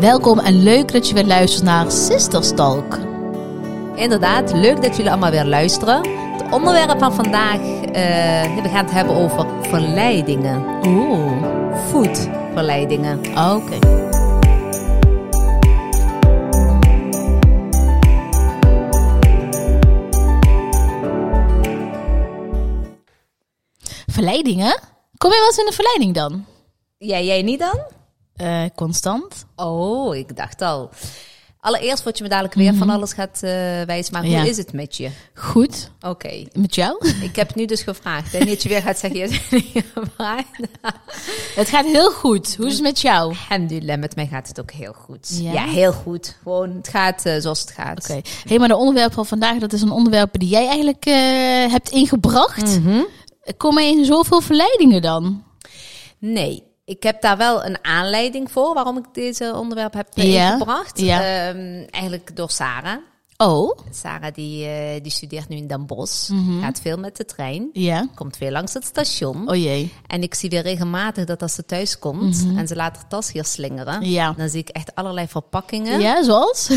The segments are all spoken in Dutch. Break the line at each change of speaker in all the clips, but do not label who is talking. Welkom en leuk dat je weer luistert naar Sisters Talk.
Inderdaad, leuk dat jullie allemaal weer luisteren. Het onderwerp van vandaag, eh, we gaan het hebben over verleidingen.
Oeh,
Food verleidingen.
oké. Verleidingen? Kom je wel eens in de verleiding dan?
Ja, jij niet dan?
Eh, constant.
Oh, ik dacht al. Allereerst wat je me dadelijk weer van alles gaat eh, wijsmaken.
Ja.
Hoe is het met je?
Goed.
Oké.
Met jou?
Ik heb nu dus gevraagd. En dat je weer gaat zeggen, je hebt het niet gevraagd.
het gaat heel goed. Hoe is het met jou? Oké.
Alhamdulillah, met mij gaat het ook heel goed.
Ja?
Ja, heel goed. Gewoon, het gaat eh, zoals het gaat.
Hey, maar de onderwerp van vandaag, dat is een onderwerp die jij eigenlijk eh, hebt ingebracht. Kom er in zoveel verleidingen dan?
Nee, ik heb daar wel een aanleiding voor waarom ik deze onderwerp heb eh,
Ja,
ingebracht.
ja.
Ehm, eigenlijk door Sarah.
Oh,
Sarah die, eh, die studeert nu in Den Bosch,
Mhm.
gaat veel met de trein,
ja.
komt veel langs het station.
Oh jee.
En ik zie weer regelmatig dat als ze thuis komt en ze laat haar tas hier slingeren,
Mhm. Ja.
dan zie ik echt allerlei verpakkingen.
Ja, zoals?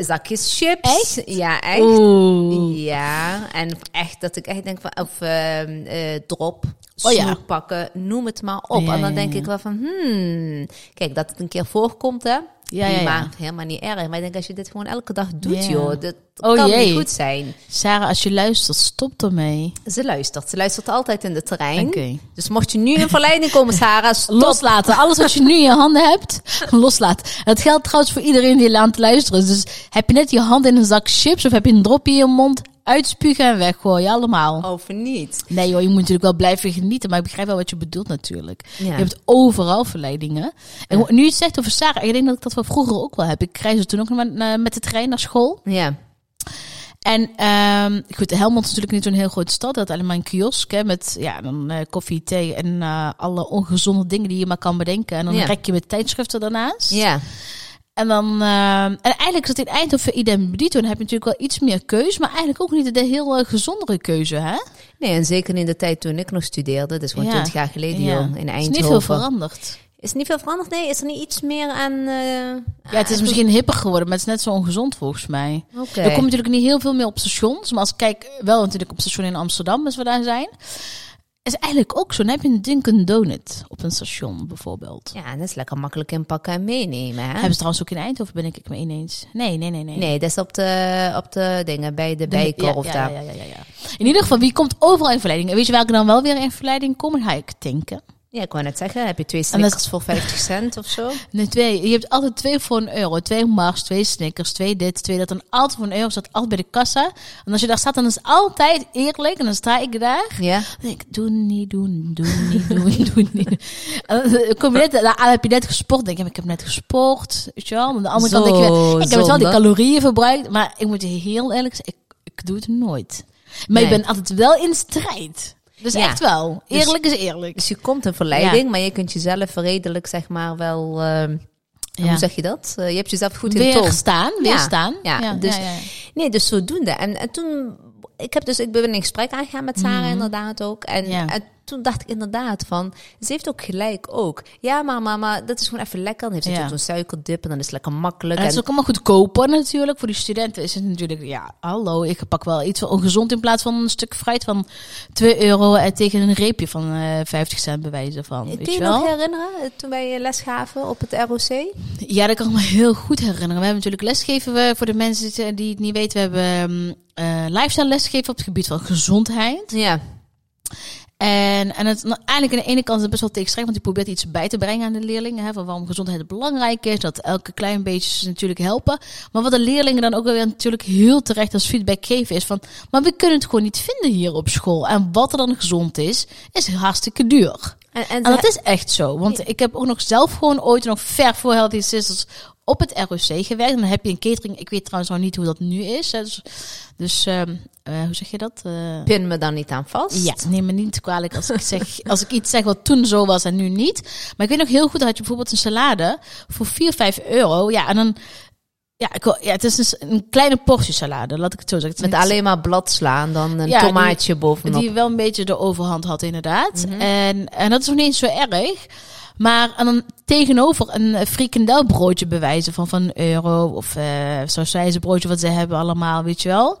Zakjes chips. Ja, echt.
Oeh.
Ja, en echt dat ik echt denk van, of eh, eh, drop,
Oh ja.
snoep pakken, noem het maar op.
Ja,
en dan
ja,
denk
ja.
ik wel van, hmm, kijk, dat het een keer voorkomt, hè.
Ja, ja,
prima,
ja.
helemaal niet erg. Maar ik denk, als je dit gewoon elke dag doet,
Ja.
joh, dat
Oh,
kan
jee.
niet goed zijn.
Sarah, als je luistert, stop ermee.
Ze luistert. Ze luistert altijd in de trein.
Oké.
Dus mocht je nu in verleiding komen, Sarah, stop.
Loslaten. Alles wat je nu in je handen hebt, loslaten. Het geldt trouwens voor iedereen die aan het luisteren is. Dus heb je net je hand in een zak chips of heb je een dropje in je mond, uitspugen en weggooien. Allemaal.
Of niet.
Nee joh, je moet natuurlijk wel blijven genieten. Maar ik begrijp wel wat je bedoelt natuurlijk.
Ja.
Je hebt overal verleidingen. En nu je het zegt over Sarah, ik denk dat ik dat wel vroeger ook wel heb. Ik reisde toen ook nog met- met de trein naar school.
Ja.
En ehm, goed, Helmond is natuurlijk niet zo'n heel grote stad. Dat alleen maar een kiosk hè, met ja, dan, eh, koffie, thee en eh, alle ongezonde dingen die je maar kan bedenken. En dan
Ja.
rek je met tijdschriften daarnaast.
Ja.
En dan ehm, en eigenlijk zat in Eindhoven idem dito. Dan heb je natuurlijk wel iets meer keus, maar eigenlijk ook niet de heel eh, gezondere keuze. Hè?
Nee, en zeker in de tijd toen ik nog studeerde, dat is gewoon
Ja.
20 jaar geleden,
Ja.
joh, in Eindhoven.
Het is niet veel veranderd.
Is er niet veel veranderd? Nee, is er niet iets meer aan... eh,
Ja, het is
aan-
misschien hipper geworden, maar het is net zo ongezond volgens mij.
Oké.
Er komt natuurlijk niet heel veel meer op stations. Maar als ik kijk, wel natuurlijk op station in Amsterdam, als we daar zijn. Is eigenlijk ook zo. Dan heb je een Dunkin' Donut op een station bijvoorbeeld.
Ja, en dat is lekker makkelijk inpakken en meenemen. Hè?
Hebben ze trouwens ook in Eindhoven, ben ik het me ineens. Nee, nee, nee, nee.
Nee, dat is op de, op de dingen, bij de
De- ja,
bijkorf
ja,
daar.
ja, ja, ja, ja. In ieder geval, wie komt overal in verleiding? En weet je waar ik dan wel weer in verleiding kom? Dan ga ik tanken.
Ja, ik wou net zeggen, heb je twee
En dat-
snickers voor 50 cent of zo?
Nee, twee. Je hebt altijd twee voor een euro. Twee Mars, twee Snickers, twee dit, twee dat. En altijd voor een euro staat altijd bij de kassa. En als je daar staat, dan is het altijd eerlijk. En dan sta ik daar.
Ja.
Dan denk ik, doen niet, doen, doen niet, doen, doen niet. En dan kom je net, daaraan heb je net gesport. denk je, maar ik heb net gesport. Weet je wel? Aan de andere
Zo
kant denk je, weer, ik heb het wel die
zonde.
calorieën verbruikt. Maar ik moet je heel eerlijk zeggen, ik, ik doe het nooit. Maar ik
Nee.
ben altijd wel in strijd. Dus
Ja.
echt wel. Eerlijk is eerlijk.
Dus je komt een verleiding, maar je kunt jezelf redelijk, zeg maar, wel... ehm, Hoe zeg je dat? Eh, je hebt jezelf goed in toom.
Weer staan, weer
Ja,
staan.
ja, dus- Nee, dus zodoende. En, en toen, ik, heb dus, ik ben een gesprek aangegaan met Sarah inderdaad ook. En,
Mhm. Ja.
en toen dacht ik inderdaad van, ze heeft ook gelijk ook. Ja, maar mama, dat is gewoon even lekker. Dan heeft ze
Ja.
natuurlijk zo'n suikerdip en dan is het lekker makkelijk.
En het is
En,
ook allemaal goedkoper natuurlijk. Voor die studenten is het natuurlijk, ja, hallo, ik pak wel iets van ongezond in plaats van een stuk fruit van 2 euro en tegen een reepje van eh 50 cent bewijzen van. Weet
kun je
je
je nog
wel?
herinneren eh, toen wij eh, les gaven op het ROC?
Ja, dat kan ik me heel goed herinneren. We hebben natuurlijk lesgeven we, voor de mensen die- die het niet weten. We hebben eh lifestyle lesgeven op het gebied van gezondheid.
Ja.
En, en het, nou, eigenlijk aan de ene kant is het best wel tegenstrijdig, want je probeert iets bij te brengen aan de leerlingen. Hè, van waarom gezondheid belangrijk is, dat elke klein beetje ze natuurlijk helpen. Maar wat de leerlingen dan ook wel weer natuurlijk heel terecht als feedback geven is van... Maar we kunnen het gewoon niet vinden hier op school. En wat er dan gezond is, is hartstikke duur.
En,
En
en,
dat is echt zo. Want ik heb ook nog zelf gewoon ooit nog ver voor Healthy Sisters op het ROC gewerkt. En dan heb je een catering. Ik weet trouwens nog niet hoe dat nu is. hè, Dus, dus ehm, eh, hoe zeg je dat? Eh,
pin me dan niet aan vast.
ja, neem me niet kwalijk als ik, zeg, als ik iets zeg wat toen zo was en nu niet. Maar ik weet nog heel goed, dan had je bijvoorbeeld een salade voor 4, 5 euro. Ja, en dan Ja, ik, wil- ja, het is dus een kleine portie salade, laat ik het zo zeggen. Het is
Met
niet-
alleen maar bladsla en dan een
Ja, die-
tomaatje bovenop. Mhm.
Die wel een beetje de overhand had, inderdaad. en, en dat is nog niet eens zo erg. Maar en dan tegenover een eh, frikandelbroodje bewijzen van van een euro of eh sausijzenbroodje wat ze hebben allemaal, weet je wel.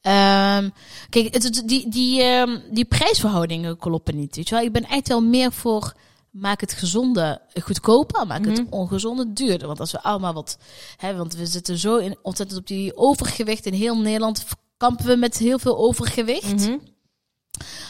Ehm, kijk, het, het- die, die, ehm, die prijsverhoudingen kloppen niet, weet je wel. Ik ben echt wel meer voor maak het gezonde goedkoper, maak
Mhm.
het ongezonde duurder. Want als we allemaal wat hebben, want we zitten zo in, ontzettend op die overgewicht. In heel Nederland kampen we met heel veel overgewicht.
Mhm.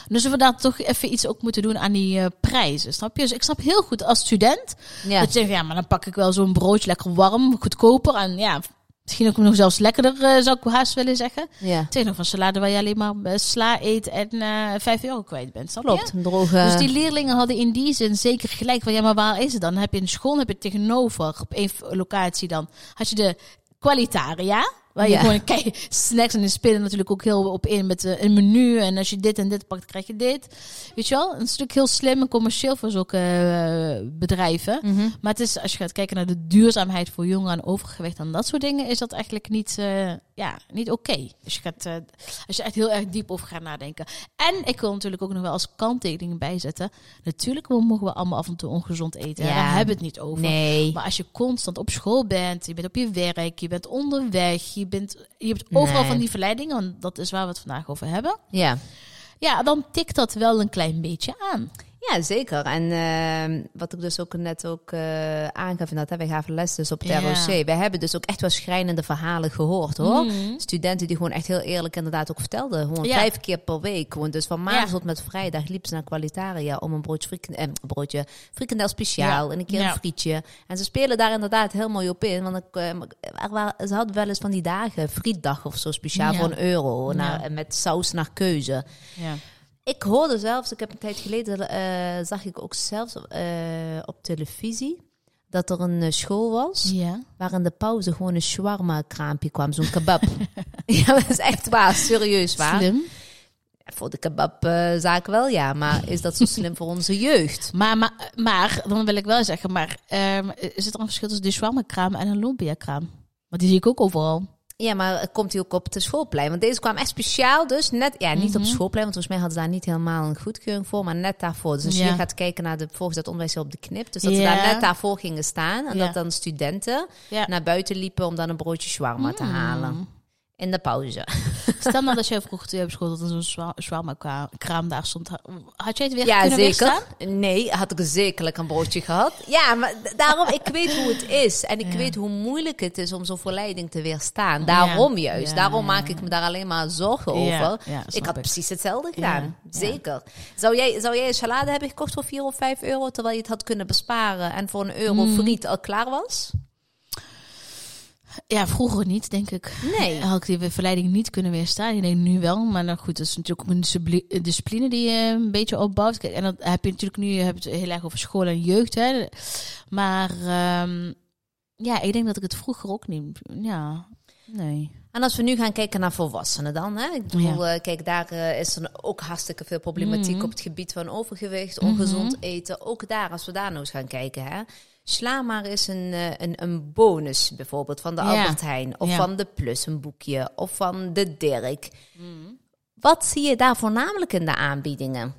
Dus we daar toch even iets ook moeten doen aan die eh, prijzen, snap je? Dus ik snap heel goed als student
Ja.
dat je denkt, ja, maar dan pak ik wel zo'n broodje lekker warm, goedkoper en ja, misschien ook nog zelfs lekkerder, eh, zou ik haast willen zeggen.
ja,
Tegenover van salade waar je alleen maar eh, sla eet en eh 5 euro kwijt bent, snap je?
klopt. Een droge...
Dus die leerlingen hadden in die zin zeker gelijk van ja, maar waar is het dan? Heb je een school, heb je tegenover op één locatie dan had je de kwalitaria. Waar je
Ja.
gewoon kijk, snacks en de spelen natuurlijk ook heel op in met eh, een menu. En als je dit en dit pakt, krijg je dit. Weet je wel, een stuk heel slim en commercieel voor zulke eh, bedrijven.
Mhm.
Maar het is, als je gaat kijken naar de duurzaamheid voor jongeren en overgewicht en dat soort dingen, is dat eigenlijk niet, eh, ja, niet oké. Dus je gaat, eh, als je echt heel erg diep over gaat nadenken. En ik wil natuurlijk ook nog wel als kanttekening bijzetten. Natuurlijk we mogen we allemaal af en toe ongezond eten. hè.
Ja.
Daar hebben we het niet over.
Nee.
Maar als je constant op school bent, je bent op je werk, je bent onderweg, je, bent, je hebt overal
Nee.
van die verleidingen, want dat is waar we het vandaag over hebben.
Ja.
Ja, dan tikt dat wel een klein beetje aan.
Ja, zeker. En ehm, wat ik dus ook net ook eh, aangaf, en dat hè, wij gaven les dus op het
Ja.
ROC. Wij hebben dus ook echt wel schrijnende verhalen gehoord hoor. Studenten die gewoon echt heel eerlijk inderdaad ook vertelden. Gewoon
Hm? Ja.
vijf keer per week. Gewoon dus van maandag
Ja.
tot met vrijdag liep ze naar Qualitaria om een broodje, frikken, eh, broodje frikandel speciaal
Ja.
en een keer
Ja.
een frietje. En ze spelen daar inderdaad heel mooi op in. Want ik, ehm, er waren, ze hadden wel eens van die dagen, frietdag of zo speciaal
Ja.
voor een euro.
Ja.
naar- met saus naar keuze.
Ja.
Ik hoorde zelfs, ik heb een tijd geleden, eh, zag ik ook zelfs eh, op televisie, dat er een eh, school was
ja.
waar in de pauze gewoon een shawarma-kraampje kwam, zo'n kebab. ja, dat is echt waar, serieus waar.
Slim.
Ja, Voor de kebabzaak wel, ja, maar is dat zo slim voor onze jeugd?
Maar, maar, maar, dan wil ik wel zeggen, maar ehm, is er een verschil tussen de shawarma-kraam en een lumpia-kraam? Want die zie ik ook overal.
Ja, maar eh, komt hij ook op het schoolplein? Want deze kwam echt speciaal, dus net, ja, niet op
Mhm.
het schoolplein, want volgens mij hadden ze daar niet helemaal een goedkeuring voor, maar net daarvoor. Dus als
Ja.
je gaat kijken naar de volgens dat onderwijs op de knip, dus dat ze
Ja.
daar net daarvoor gingen staan en
Ja.
dat dan studenten
Ja. Mm.
naar buiten liepen om dan een broodje shawarma te halen. In de pauze.
Stel nou dat jij vroeger toen je op school dat er zo'n shwa- shawarma-kraam daar stond. Had jij het weer
Ja,
kunnen
zeker.
weerstaan?
Nee, had ik zekerlijk een broodje gehad. Ja, maar d- daarom, ik weet hoe het is. En ik weet hoe moeilijk het is om zo'n verleiding te weerstaan. Daarom
Ja.
juist.
Ja,
Daarom
ja,
maak ik me daar alleen maar zorgen
Ja,
over.
ja, snap
ik had
ik.
precies hetzelfde
Ja,
gedaan.
ja.
Zeker. Zou jij, zou jij een salade hebben gekocht voor 4 of 5 euro, terwijl je het had kunnen besparen en voor een euro friet al klaar was?
Ja, vroeger niet, denk ik.
Nee.
Had ik die verleiding niet kunnen weerstaan. Ik denk nu wel, maar nou goed, dat is natuurlijk ook een discipli- eh, discipline die je een beetje opbouwt. Kijk, en dat heb je natuurlijk nu, je hebt het heel erg over school en jeugd, hè. Maar ehm, ja, ik denk dat ik het vroeger ook niet... Ja, nee.
En als we nu gaan kijken naar volwassenen dan. Hè? Ik bedoel, eh, kijk, daar eh, is er ook hartstikke veel problematiek
Mhm.
op het gebied van overgewicht, ongezond eten. Ook daar, als we daar nou eens gaan kijken. Hè? Sla maar eens een, eh, een, een bonus bijvoorbeeld van de
Ja.
Albert Heijn. Of
Ja.
van de Plus, een boekje. Of van de Dirk.
Mhm.
Wat zie je daar voornamelijk in de aanbiedingen?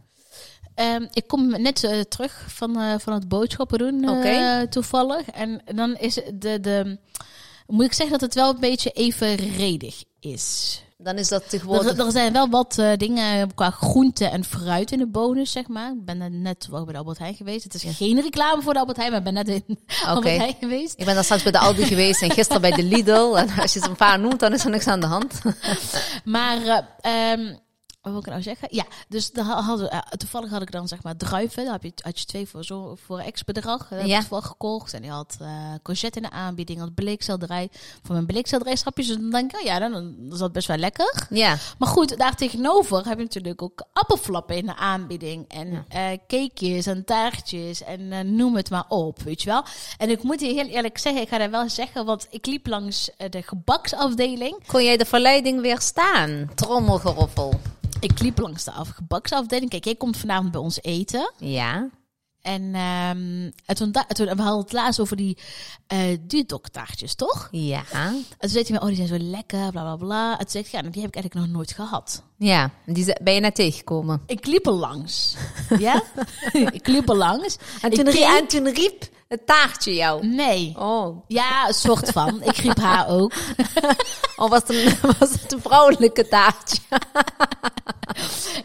Ehm, ik kom net eh, terug van, eh, van het boodschappen doen, eh,
Oké.
toevallig. En dan is de, de... Moet ik zeggen dat het wel een beetje evenredig is.
Dan is dat
Er,
tegenwoordig...
er zijn wel wat eh, dingen qua groente en fruit in de bonus, zeg maar. Ik ben er net toevallig bij de Albert Heijn geweest. Het is geen reclame voor de Albert Heijn, maar ik ben net in de Albert Heijn geweest.
Ik ben daar straks bij de Aldi geweest en gisteren bij de Lidl. En als je ze een paar noemt, dan is er niks aan de hand.
Maar, eh, ehm, wat wil ik nou zeggen? Ja, dus daar ha- hadden, we, eh, toevallig had ik dan zeg maar druiven. Daar heb je, had je twee voor, zo, voor ex-bedrag. Dat heb
Ja.
ik toevallig gekocht. En die had eh courgette in de aanbieding, had bleekselderij. Voor mijn bleekselderijschapjes. Dus dan denk ik, oh ja, dan, dan is dat best wel lekker.
Ja.
Maar goed, daar tegenover heb je natuurlijk ook appelflappen in de aanbieding. En eh, cakejes en taartjes en eh, noem het maar op, weet je wel. En ik moet je heel eerlijk zeggen, ik ga dat wel zeggen, want ik liep langs eh, de gebaksafdeling.
Kon jij de verleiding weerstaan? Trommelgeroffel.
Ik liep langs de af- gebaksafdeling. Kijk, jij komt vanavond bij ons eten.
Ja.
En, ehm, en toen, da- toen, we hadden het laatst over die eh dudoktaartjes, toch?
Ja.
En toen zei hij me, oh, die zijn zo lekker, bla bla bla. En toen zei ik, ja, nou, die heb ik eigenlijk nog nooit gehad.
Ja, die ze- ben je naar tegengekomen.
Ik liep er langs. ja? ik liep er langs.
En
Ik
toen, rie-
keek-
en toen riep het taartje jou.
Nee.
Oh,
Ja, een soort van. Ik riep haar ook.
oh was, het een, was het een vrouwelijke taartje?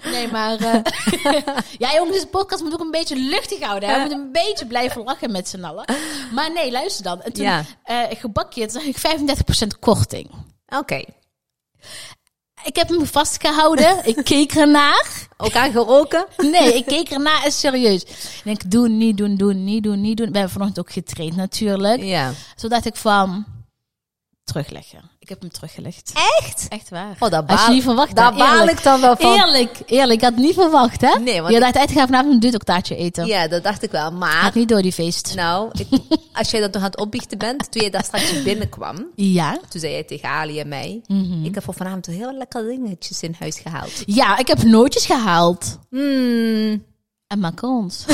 Nee, maar... eh, ja, jongens, deze podcast moet ook een beetje luchtig houden. Hè? We moeten een beetje blijven lachen met z'n allen. Maar nee, luister dan. En toen
Ja.
eh, gebakje, toen zag ik 35% korting.
Oké,
Ik heb hem vastgehouden. Ik keek ernaar.
ook aan geroken?
Nee, ik keek ernaar en serieus. Ik denk, doen, niet doen, doen, niet doen, niet doen. We hebben vanochtend ook getraind natuurlijk.
Ja.
Zodat ik van... Terugleggen. Ik heb hem teruggelegd.
Echt?
Echt waar.
Oh, dat
Als je
baal-
niet verwacht
daar
hè,
baal
eerlijk.
ik dan wel van.
Eerlijk, eerlijk. Ik had het niet verwacht, hè?
Nee, want
Je
ik-
dacht, uit, ga vanavond een dutoktaartje eten.
Ja, dat dacht ik wel. Maar
Gaat niet door die feest.
nou, ik, als jij dat nog aan het opbiechten bent, toen je daar straks binnenkwam,
Ja.
toen zei jij tegen Ali en mij, ik heb voor vanavond wel heel lekkere dingetjes in huis gehaald.
Ja, ik heb nootjes gehaald.
Hmm,
En macarons.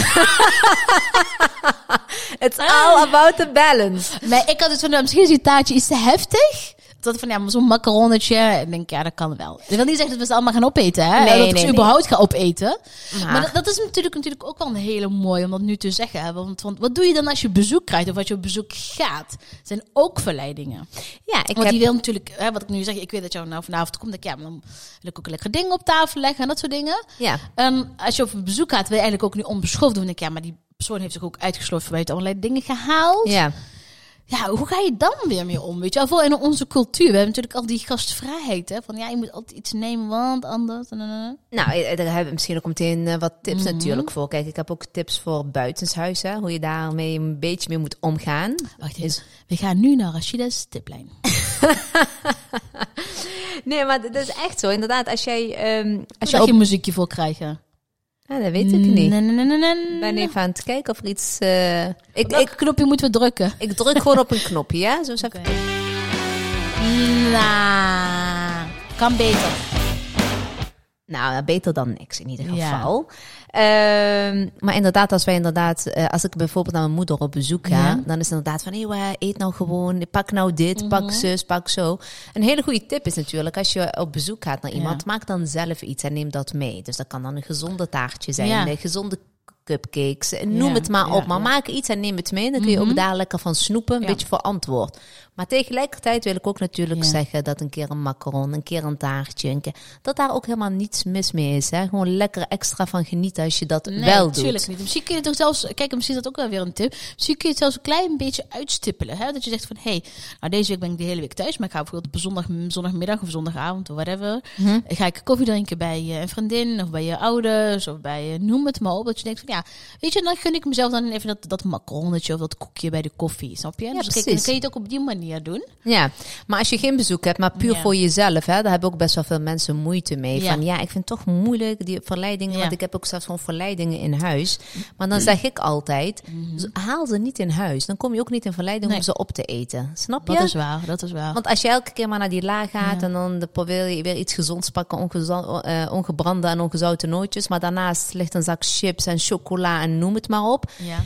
it's all about the balance.
nee, ik had het van, nou, misschien is die taartje iets te heftig. Dat van, ja, maar zo'n macaronnetje. Ik denk, ja, dat kan wel. Dat wil niet zeggen dat we ze allemaal gaan opeten, hè? dat ik
Nee, nee,
ze
nee.
überhaupt ga opeten.
Maar-
Maar dat, dat is natuurlijk, natuurlijk ook wel een hele mooie om dat nu te zeggen. Hè? Want, want wat doe je dan als je bezoek krijgt of als je op bezoek gaat? zijn ook verleidingen.
Ja, ik
Want
heb...
die wil natuurlijk, hè, wat ik nu zeg, ik weet dat jou nou vanavond komt. denk Ik, ja, maar dan wil ik ook een lekker ding op tafel leggen en dat soort dingen.
Ja,
En Ehm, als je op een bezoek gaat, wil je eigenlijk ook nu onbeschoft doen. Denk ik, ja, maar die persoon heeft zich ook uitgesloten vanuit allerlei dingen gehaald. Ja.
ja.
hoe ga je dan weer mee om? Weet je wel, vooral in onze cultuur. We hebben natuurlijk al die gastvrijheid, hè. Van ja, je moet altijd iets nemen, want anders. en, en, en.
Nou, eh, daar hebben we misschien ook meteen eh, wat tips natuurlijk voor. Kijk, ik heb ook tips voor buitenshuis, hè, hoe je daarmee een beetje mee moet omgaan.
Wacht eens. We gaan nu naar Rashida's tiplijn.
Nee, maar dat is echt zo. Inderdaad, als jij... ehm, als
Als
je
je
op...
geen muziekje voor krijgen.
Ah, dat weet ik niet.
Nee, nee, nee, nee,
Ik
nee.
ben even aan het kijken of er iets... eh,
Op
ik,
welk
ik,
knopje moeten we drukken?
ik druk gewoon op een knopje, ja? Zo zeg ik.
Nou, kan beter.
Nou, ja, beter dan niks in ieder
Ja.
geval. Ehm, maar inderdaad, als wij inderdaad, eh, als ik bijvoorbeeld naar mijn moeder op bezoek ga,
Ja.
dan is het inderdaad van, hé, eh, eet nou gewoon, pak nou dit,
Mhm.
pak zus, pak zo. Een hele goede tip is natuurlijk, als je op bezoek gaat naar iemand, maak dan zelf iets en neem dat mee. Dus dat kan dan een gezonde taartje zijn,
Ja.
een gezonde cupcakes, eh, noem
Ja,
het maar
ja,
op. Maar
ja.
maak iets en neem het mee, dan kun je ook daar lekker van snoepen, een
Mhm. Ja.
beetje verantwoord. Maar tegelijkertijd wil ik ook natuurlijk
Ja.
zeggen dat een keer een macaron, een keer een taartje, een keer, dat daar ook helemaal niets mis mee is. Hè? Gewoon lekker extra van genieten als je dat
Nee,
wel
tuurlijk
doet.
niet. Misschien kun je het ook zelfs, kijk, misschien is dat ook wel weer een tip. Misschien kun je het zelfs een klein beetje uitstippelen. Hè? Dat je zegt van, hé, hey, nou deze week ben ik de hele week thuis, maar ik ga bijvoorbeeld op zondag, zondagmiddag of zondagavond of whatever,
Mhm.
ga ik koffie drinken bij eh, een vriendin of bij je ouders of bij, eh, noem het maar op. Dat je denkt van, ja, weet je, dan gun ik mezelf dan even dat, dat macaronnetje of dat koekje bij de koffie, snap je? dus kijk, dan
precies.
kun je het ook op die manier doen.
Ja, maar als je geen bezoek hebt, maar puur
Ja.
voor jezelf, hè, daar hebben ook best wel veel mensen moeite mee.
Ja.
Van ja, ik vind het toch moeilijk die verleidingen,
Ja. Mm.
want ik heb ook zelfs gewoon verleidingen in huis. Maar dan zeg ik altijd, z- haal ze niet in huis. Dan kom je ook niet in verleiding
Mm-hmm. Nee.
om ze op te eten. Snap je?
Dat is waar, dat is waar.
Want als je elke keer maar naar die laag gaat en dan de- probeer je weer iets gezonds pakken, ongezo- eh, ongebrande en ongezouten nootjes, maar daarnaast ligt een zak chips en chocola en noem het maar op.
ja.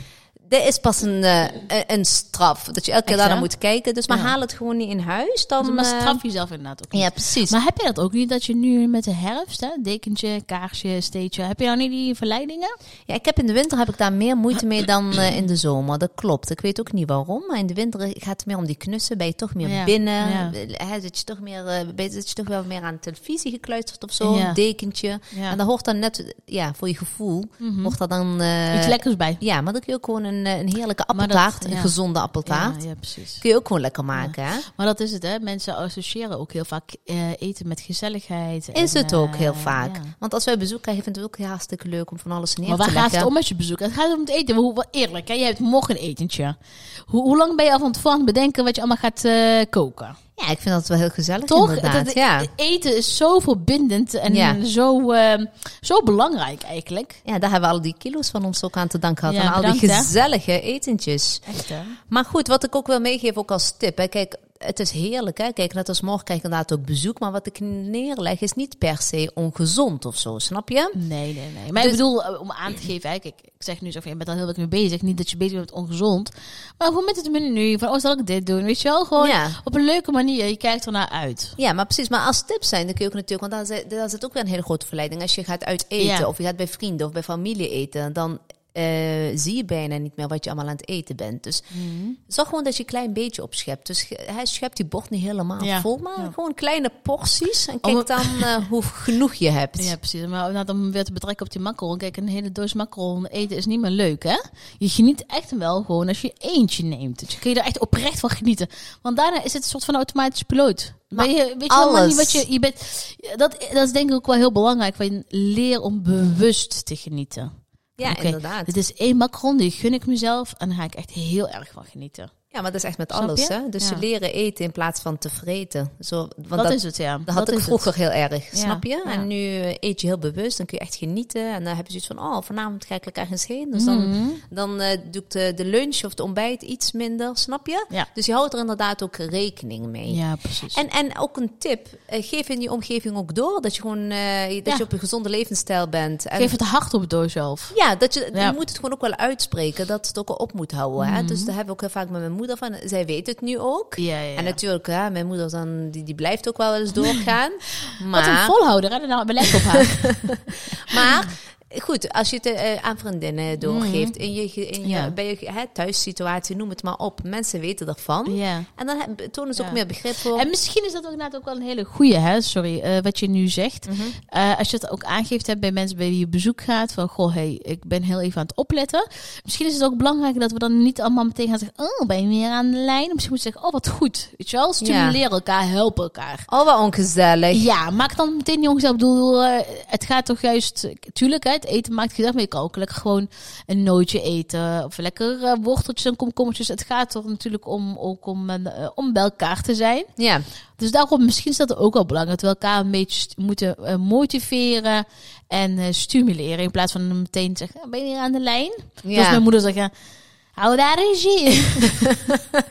Dit is pas een, eh, een- een straf, dat je elke keer
Echt,
daarna
hè?
moet kijken. Dus maar
Ja.
haal het gewoon niet in huis, dan...
Maar
eh,
straf jezelf inderdaad ook niet.
ja, precies.
Maar heb je dat ook niet, dat je nu met de herfst, hè, dekentje, kaarsje, steetje, heb je dan niet die verleidingen?
Ja, ik heb in de winter heb ik daar meer moeite mee dan eh, in de zomer. Dat klopt. Ik weet ook niet waarom. Maar in de winter gaat het meer om die knussen. Ben je toch meer
Ja,
binnen?
ja.
Hè, zit, je toch meer, eh, ben je- zit je toch wel meer aan de televisie gekluisterd of zo?
Ja.
Een dekentje.
Ja. Mhm.
En daar hoort dan net, ja, voor je gevoel, hoort daar dan... eh,
Iets lekkers bij.
ja, maar dan kun je ook gewoon een, eh, een heerlijke
Maar dat-
appeltaart,
ja.
een gezonde appeltaart.
Ja, ja, precies.
Kun je ook gewoon lekker maken, hè?
Maar dat is het, hè? Mensen associëren ook heel vaak eh, eten met gezelligheid.
Is
en,
het ook
eh,
heel vaak.
ja.
Want als wij bezoek krijgen, vinden we het ook hartstikke leuk om van alles neer
Maar waar
te
gaat
leggen.
het om met je bezoek? Het gaat om het eten. Maar Hoe, wel eerlijk, hè? je hebt morgen een etentje. Hoe, hoe lang ben je al van tevoren aan het bedenken wat je allemaal gaat eh, koken?
Ja, ik vind dat wel heel gezellig
Toch?
inderdaad.
Dat-
ja.
Eten is zo verbindend en
Ja.
zo, eh, zo belangrijk eigenlijk.
Ja, daar hebben we al die kilo's van ons ook aan te danken gehad.
Ja,
aan al
bedankt,
die
hè.
gezellige etentjes.
Echt, hè?
Maar goed, wat ik ook wil meegeven, ook als tip. Hè, kijk, het is heerlijk, hè? Kijk, net als morgen krijg ik inderdaad ook bezoek. Maar wat ik neerleg is niet per se ongezond of zo, snap je?
Nee, nee, nee.
Dus-
Maar ik bedoel, eh, om aan te geven, hè, kijk, ik zeg nu zo van, je bent al heel erg mee bezig. Niet dat je bezig bent met ongezond. Maar gewoon met het menu, van, oh, zal ik dit doen? Weet je wel, gewoon
Ja.
op een leuke manier. Je kijkt ernaar uit.
Ja, maar precies. Maar als tips zijn, dan kun je ook natuurlijk... Want daar zit, daar zit ook weer een hele grote verleiding. Als je gaat uit eten,
Ja.
of je gaat bij vrienden of bij familie eten... dan eh, zie je bijna niet meer wat je allemaal aan het eten bent. Dus
Mhm.
zorg gewoon dat je een klein beetje opschept. Dus ge- hij schept die bord niet helemaal
Ja.
vol, maar
Ja.
gewoon kleine porties. En kijk
Om-
dan eh, hoe genoeg je hebt.
Ja, precies. Maar nou, dan weer te betrekken op die makkel. Kijk, een hele doos makkel eten is niet meer leuk, hè? Je geniet echt wel gewoon als je eentje neemt. Dus kun je er echt oprecht van genieten. Want daarna is het een soort van automatisch piloot. Maar
Maar
je, weet je helemaal
alles.
niet wat je, je bent. Dat, dat is denk ik ook wel heel belangrijk. Want je leer om bewust te genieten.
Ja,
Oké, Dus-
inderdaad.
Dit is één macron, die gun ik mezelf. En daar ga ik echt heel erg van genieten.
Ja, maar dat is echt met
Snap
alles,
je?
hè? Dus
Ja.
je leren eten in plaats van te vreten. Zo, want
Dat, is het, ja.
Dat had
is
ik
het.
vroeger heel erg,
Ja,
snap je?
ja.
En nu eh, eet je heel bewust, dan kun je echt genieten. En dan heb je zoiets van, oh, vanavond ga ik lekker ergens heen. Dus dan,
Mhm.
dan eh, doe ik de, de lunch of de ontbijt iets minder, snap je?
Ja.
Dus je houdt er inderdaad ook rekening mee.
Ja, precies.
En, en ook een tip, eh, geef in je omgeving ook door dat je gewoon eh, dat
Ja.
je op een gezonde levensstijl bent. En
Geef het hard op door zelf.
ja, dat je,
Ja. Mhm.
je moet het gewoon ook wel uitspreken dat het ook al op moet houden. Hè? Dus daar heb ik ook heel vaak met mijn moeder van. Zij weet het nu ook.
Ja, ja.
En natuurlijk, hè, mijn moeder dan, die, die blijft ook wel eens doorgaan.
Wat een
maar,
volhouder, hè? Daar Nou, beleg op haar.
maar goed, als je het eh, aan vriendinnen doorgeeft, in je, ge- in je,
Mhm. Ja.
bij je ge- hè, thuissituatie, noem het maar op. Mensen weten ervan.
ja.
En dan heb- tonen ze
Ja.
ook meer begrip voor.
En misschien is dat ook inderdaad ook wel een hele goeie, hè? Sorry, eh, wat je nu zegt. Eh, als je het ook aangeeft hebt bij mensen bij wie je op bezoek gaat, van goh, hey, ik ben heel even aan het opletten. Misschien is het ook belangrijk dat we dan niet allemaal meteen gaan zeggen, oh, ben je weer aan de lijn? Misschien moet je zeggen, oh, wat goed. Weet je wel, stimuleren elkaar, helpen elkaar.
Oh, wat ongezellig.
Ja, maak dan meteen niet ongezellig. Ik bedoel, eh, het gaat toch juist... Tuurlijk, hè, het eten maakt gezellig, maar je kan ook lekker gewoon een nootje eten. Of lekker eh, worteltjes en komkommertjes. Het gaat toch natuurlijk om, ook om, eh, om bij elkaar te zijn.
Ja.
Dus daarom, misschien is dat ook wel belangrijk. Dat we elkaar een beetje st- moeten eh, motiveren en eh, stimuleren. In plaats van meteen te zeggen, "Ah, ben je weer aan de lijn?
Ja.
Zoals mijn moeder zeggen, hou daar regie.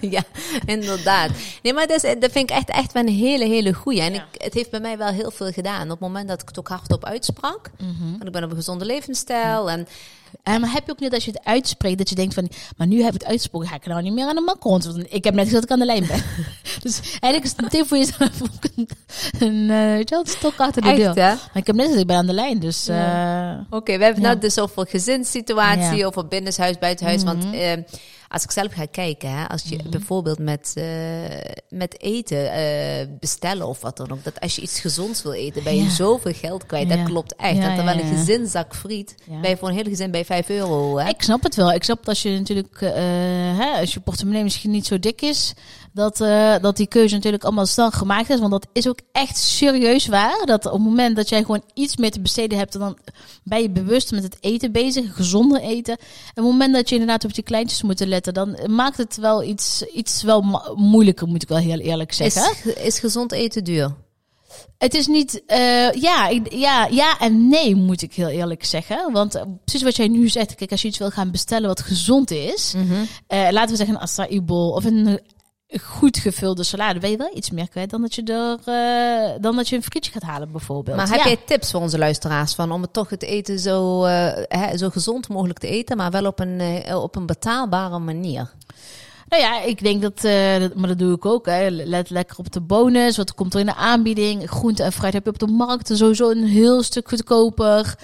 ja, inderdaad. Nee, maar dat, is, dat vind ik echt, echt wel een hele, hele goeie. En
Ja.
ik, het heeft bij mij wel heel veel gedaan. Op het moment dat ik het ook hardop uitsprak.
Mhm.
Want ik ben op een gezonde levensstijl. En
Eh, maar heb je ook niet dat je het uitspreekt, dat je denkt van, maar nu heb ik het uitgesproken, ga ik nou niet meer aan de makkons. Want ik heb net gezegd dat ik aan de lijn ben. dus eigenlijk is het een tip voor jezelf ook een, een, eh, weet je wel, een stok achter de
echt,
deur.
hè?
Maar ik heb net gezegd, ik ben aan de lijn, dus... eh,
Oké, we hebben
Ja.
het nou dus over gezinssituatie,
Ja. Mhm.
over binnenshuis, buitenhuis. Want eh, als ik zelf ga kijken, hè, als je bijvoorbeeld met, eh, met eten eh, bestellen of wat dan ook. Dat als je iets gezonds wil eten, ben je
Ja.
zoveel geld kwijt.
Ja.
Dat klopt echt.
Ja,
en terwijl
ja, ja.
een gezinszak friet,
Ja.
ben je voor een heel gezin bij 5 euro. Hè?
Ik snap het wel. Ik snap dat als je natuurlijk, eh, hè, als je portemonnee misschien niet zo dik is, dat, eh, dat die keuze natuurlijk allemaal snel gemaakt is. Want dat is ook echt serieus waar. Dat op het moment dat jij gewoon iets meer te besteden hebt, dan ben je bewust met het eten bezig, gezonder eten. En op het moment dat je inderdaad op die kleintjes moet letten, dan maakt het wel iets, iets wel ma- moeilijker, moet ik wel heel eerlijk
Is,
zeggen.
is gezond eten duur?
Het is niet, eh, ja, ik- ja, ja en nee, moet ik heel eerlijk zeggen. Want eh, precies wat jij nu zegt, kijk, als je iets wil gaan bestellen wat gezond is, eh, laten we zeggen een acai bowl of een eh, goed gevulde salade, ben je wel iets meer kwijt dan dat je, er, eh, dan dat je een frietje gaat halen bijvoorbeeld.
Maar heb
Ja.
jij tips voor onze luisteraars van om het toch het eten zo, eh, hè, zo gezond mogelijk te eten, maar wel op een, eh, op een betaalbare manier?
Nou ja, ik denk dat, eh, dat- maar dat doe ik ook. Hè. Let lekker op de bonus. Wat komt er in de aanbieding? Groente en fruit heb je op de markt sowieso een heel stuk goedkoper.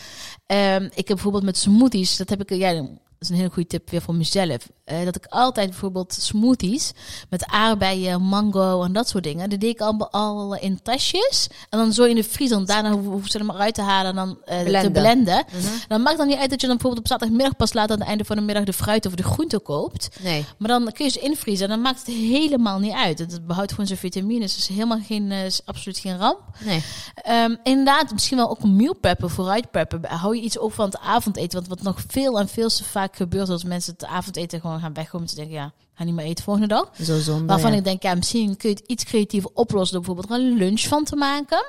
Ehm, ik heb bijvoorbeeld met smoothies, dat heb ik, ja, dat is een hele goede tip weer voor mezelf. Eh, dat ik altijd bijvoorbeeld smoothies met aardbeien, mango en dat soort dingen. Die deed ik al, al in tasjes. En dan zo in de vriezer. En daarna hoef hoef ze er maar uit te halen en dan eh, te
Blenden.
blenden. Dan maakt het dan niet uit dat je dan bijvoorbeeld op zaterdagmiddag pas laat aan het einde van de middag de fruit of de groente koopt.
Nee.
Maar dan kun je ze invriezen en dan maakt het helemaal niet uit. Het behoudt gewoon zijn vitamines. Het is helemaal geen, eh, is absoluut geen ramp.
Nee.
Ehm, inderdaad, misschien wel ook een meal preppen, vooruit preppen. Hou je iets over van het avondeten? Want wat nog veel en veel te vaak gebeurt, is dat mensen het avondeten gewoon gaan weggooien. Ze denken, ja, ga niet meer eten volgende dag.
Zo zonde.
Waarvan
Nou ja.
ik denk, ja, misschien kun je het iets creatiever oplossen door bijvoorbeeld er een lunch van te maken.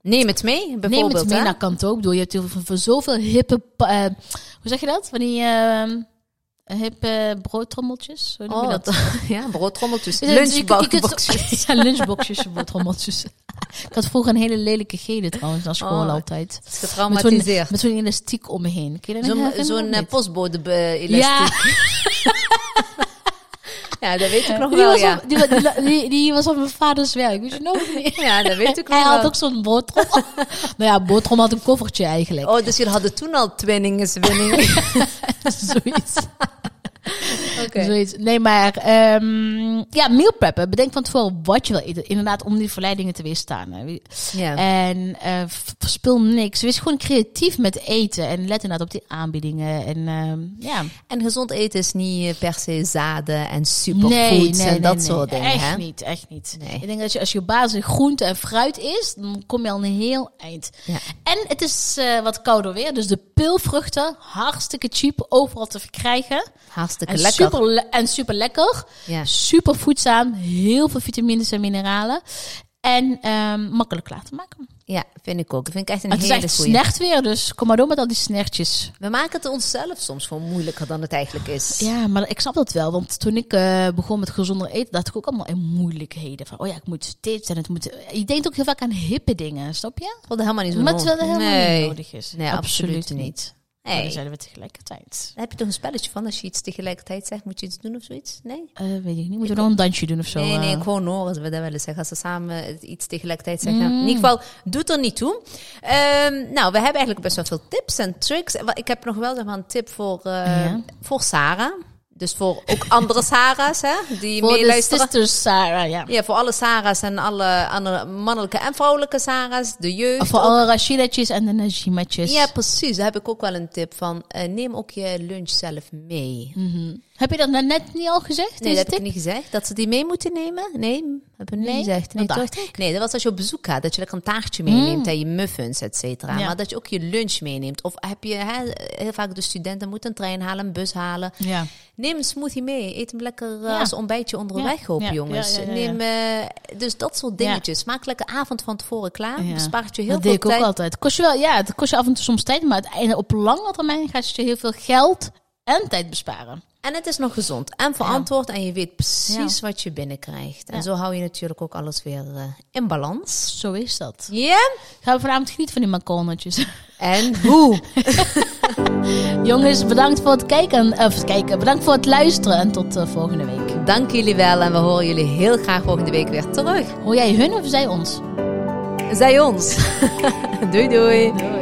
Neem het mee, bijvoorbeeld.
Mhm. Neem het mee
hè?
naar kantoor. Ik bedoel, je hebt heel veel, voor zoveel hippe... pa- eh, hoe zeg je dat? Wanneer je... ehm, hippe broodtrommeltjes. Hoe noem je dat?
Oh, ja, broodtrommeltjes.
Dus je kunt- je kunt-
Lunchboxjes.
ja, lunchboxjes, broodtrommeltjes. ik had vroeger een hele lelijke gele trouwens aan school
Oh.
altijd. Met zo'n,
Getraumatiseerd.
met zo'n elastiek om me heen. Ken je dat nog
Zo'n
herinneren of
zo'n eh,
niet?
postbode be-
Ja,
elastiek. Ja. dat weet ik nog
die
wel,
was,
ja.
op, die, wa- die, die, die was op mijn vaders werk. Weet je nog niet?
Ja, dat weet ik
Hij
nog
had
wel.
ook zo'n boterham. nou ja, boterham had een koffertje eigenlijk.
Oh, dus jullie hadden toen al twinningen, winning.
Zoiets.
Oké.
Zoiets. Nee, maar ehm, ja, meal preppen. Bedenk van tevoren wat je wil eten. Inderdaad, om die verleidingen te weerstaan. hè. Wie-
Ja.
En eh, v- verspil niks. Wees gewoon creatief met eten. En let inderdaad op die aanbiedingen. En ehm, ja.
En gezond eten is niet eh, per se zaden en
Nee,
superfoods
nee,
en
nee,
dat
nee.
soort dingen.
Echt
hè?
niet, echt niet.
Nee.
Ik denk dat je, als je basis groente en fruit is, dan kom je al een heel eind.
Ja.
En het is eh, wat kouder weer. Dus de peulvruchten, hartstikke cheap, overal te verkrijgen.
Hartstikke
En
lekker.
super, le- en super lekker.
Ja.
Super voedzaam. Heel veel vitamines en mineralen. En ehm, makkelijk klaar te maken.
ja, vind ik ook. Dat vind ik echt een
het is
hele
echt
goeie.
snert weer, dus kom maar door met al die snertjes.
We maken het onszelf soms gewoon moeilijker dan het eigenlijk is.
Ja, maar ik snap dat wel. Want toen ik eh, begon met gezonder eten, dacht ik ook allemaal in moeilijkheden. Van, oh ja, ik moet dit en het moet... Je denkt ook heel vaak aan hippe dingen, snap je?
Ik wilde helemaal niet zo
Maar terwijl dat helemaal
nee.
niet nodig is.
Nee, absoluut niet.
Maar
Nee.
dan zeiden we tegelijkertijd.
Heb je toch een spelletje van als je iets tegelijkertijd zegt? Moet je iets doen of zoiets? Nee?
Eh, weet ik niet, moeten we nog een dansje doen of zo?
nee, nee,
eh?
ik gewoon hoor dat we dat wel eens zeggen. Als ze samen iets tegelijkertijd zeggen. In ieder geval, doet er niet toe. Ehm, nou, we hebben eigenlijk best wel veel tips en tricks. En wa- Ik heb nog wel zeg maar, een tip voor, eh,
Ja.
voor Sarah. Dus voor ook andere Sarah's hè, die
Voor de
meeluisteren.
sisters, Sarah, ja.
Ja, voor alle Sarah's en alle, andere mannelijke en vrouwelijke Sarah's. De jeugd.
Voor alle Rashidatjes en de Najimatjes.
Ja, precies. Daar heb ik ook wel een tip van. Eh, neem ook je lunch zelf mee.
Heb je dat nou net niet al gezegd?
Nee,
deze
dat heb
Mhm. tip?
ik niet gezegd. Dat ze die mee moeten nemen? Nee, heb ik niet
Nee?
gezegd. Nee,
Dat
toch?
dacht Mhm.
nee, dat was als je op bezoek gaat. Dat je lekker een taartje meeneemt en je muffins, et cetera.
Ja.
Maar dat je ook je lunch meeneemt. Of heb je hè, heel vaak de studenten moeten een trein halen, een bus halen.
Ja.
Neem een smoothie mee. Eet hem lekker eh,
Ja.
als ontbijtje onderweg
Ja.
op,
Ja,
jongens.
ja, ja, ja, ja.
Neem, eh, dus dat soort dingetjes. Maak lekker avond van tevoren klaar.
Ja.
Bespaart je heel
dat deed
veel
ik ook
tijd.
altijd. Kost je wel, ja, het kost je af en toe soms tijd, maar uiteindelijk op lange termijn gaat het je heel veel geld en tijd besparen.
En het is nog gezond en verantwoord en je weet precies wat je binnenkrijgt. En
Ja.
zo hou je natuurlijk ook alles weer eh, in balans.
Zo is dat.
Ja.
Gaan we vanavond genieten van die macaronnetjes.
En hoe?
Jongens, bedankt voor het kijken. eh, Of het kijken. Bedankt voor het luisteren en tot eh, volgende week.
Dank jullie wel en we horen jullie heel graag volgende week weer terug.
Hoor jij hun of zij ons?
Zij ons. doei doei.
Doei.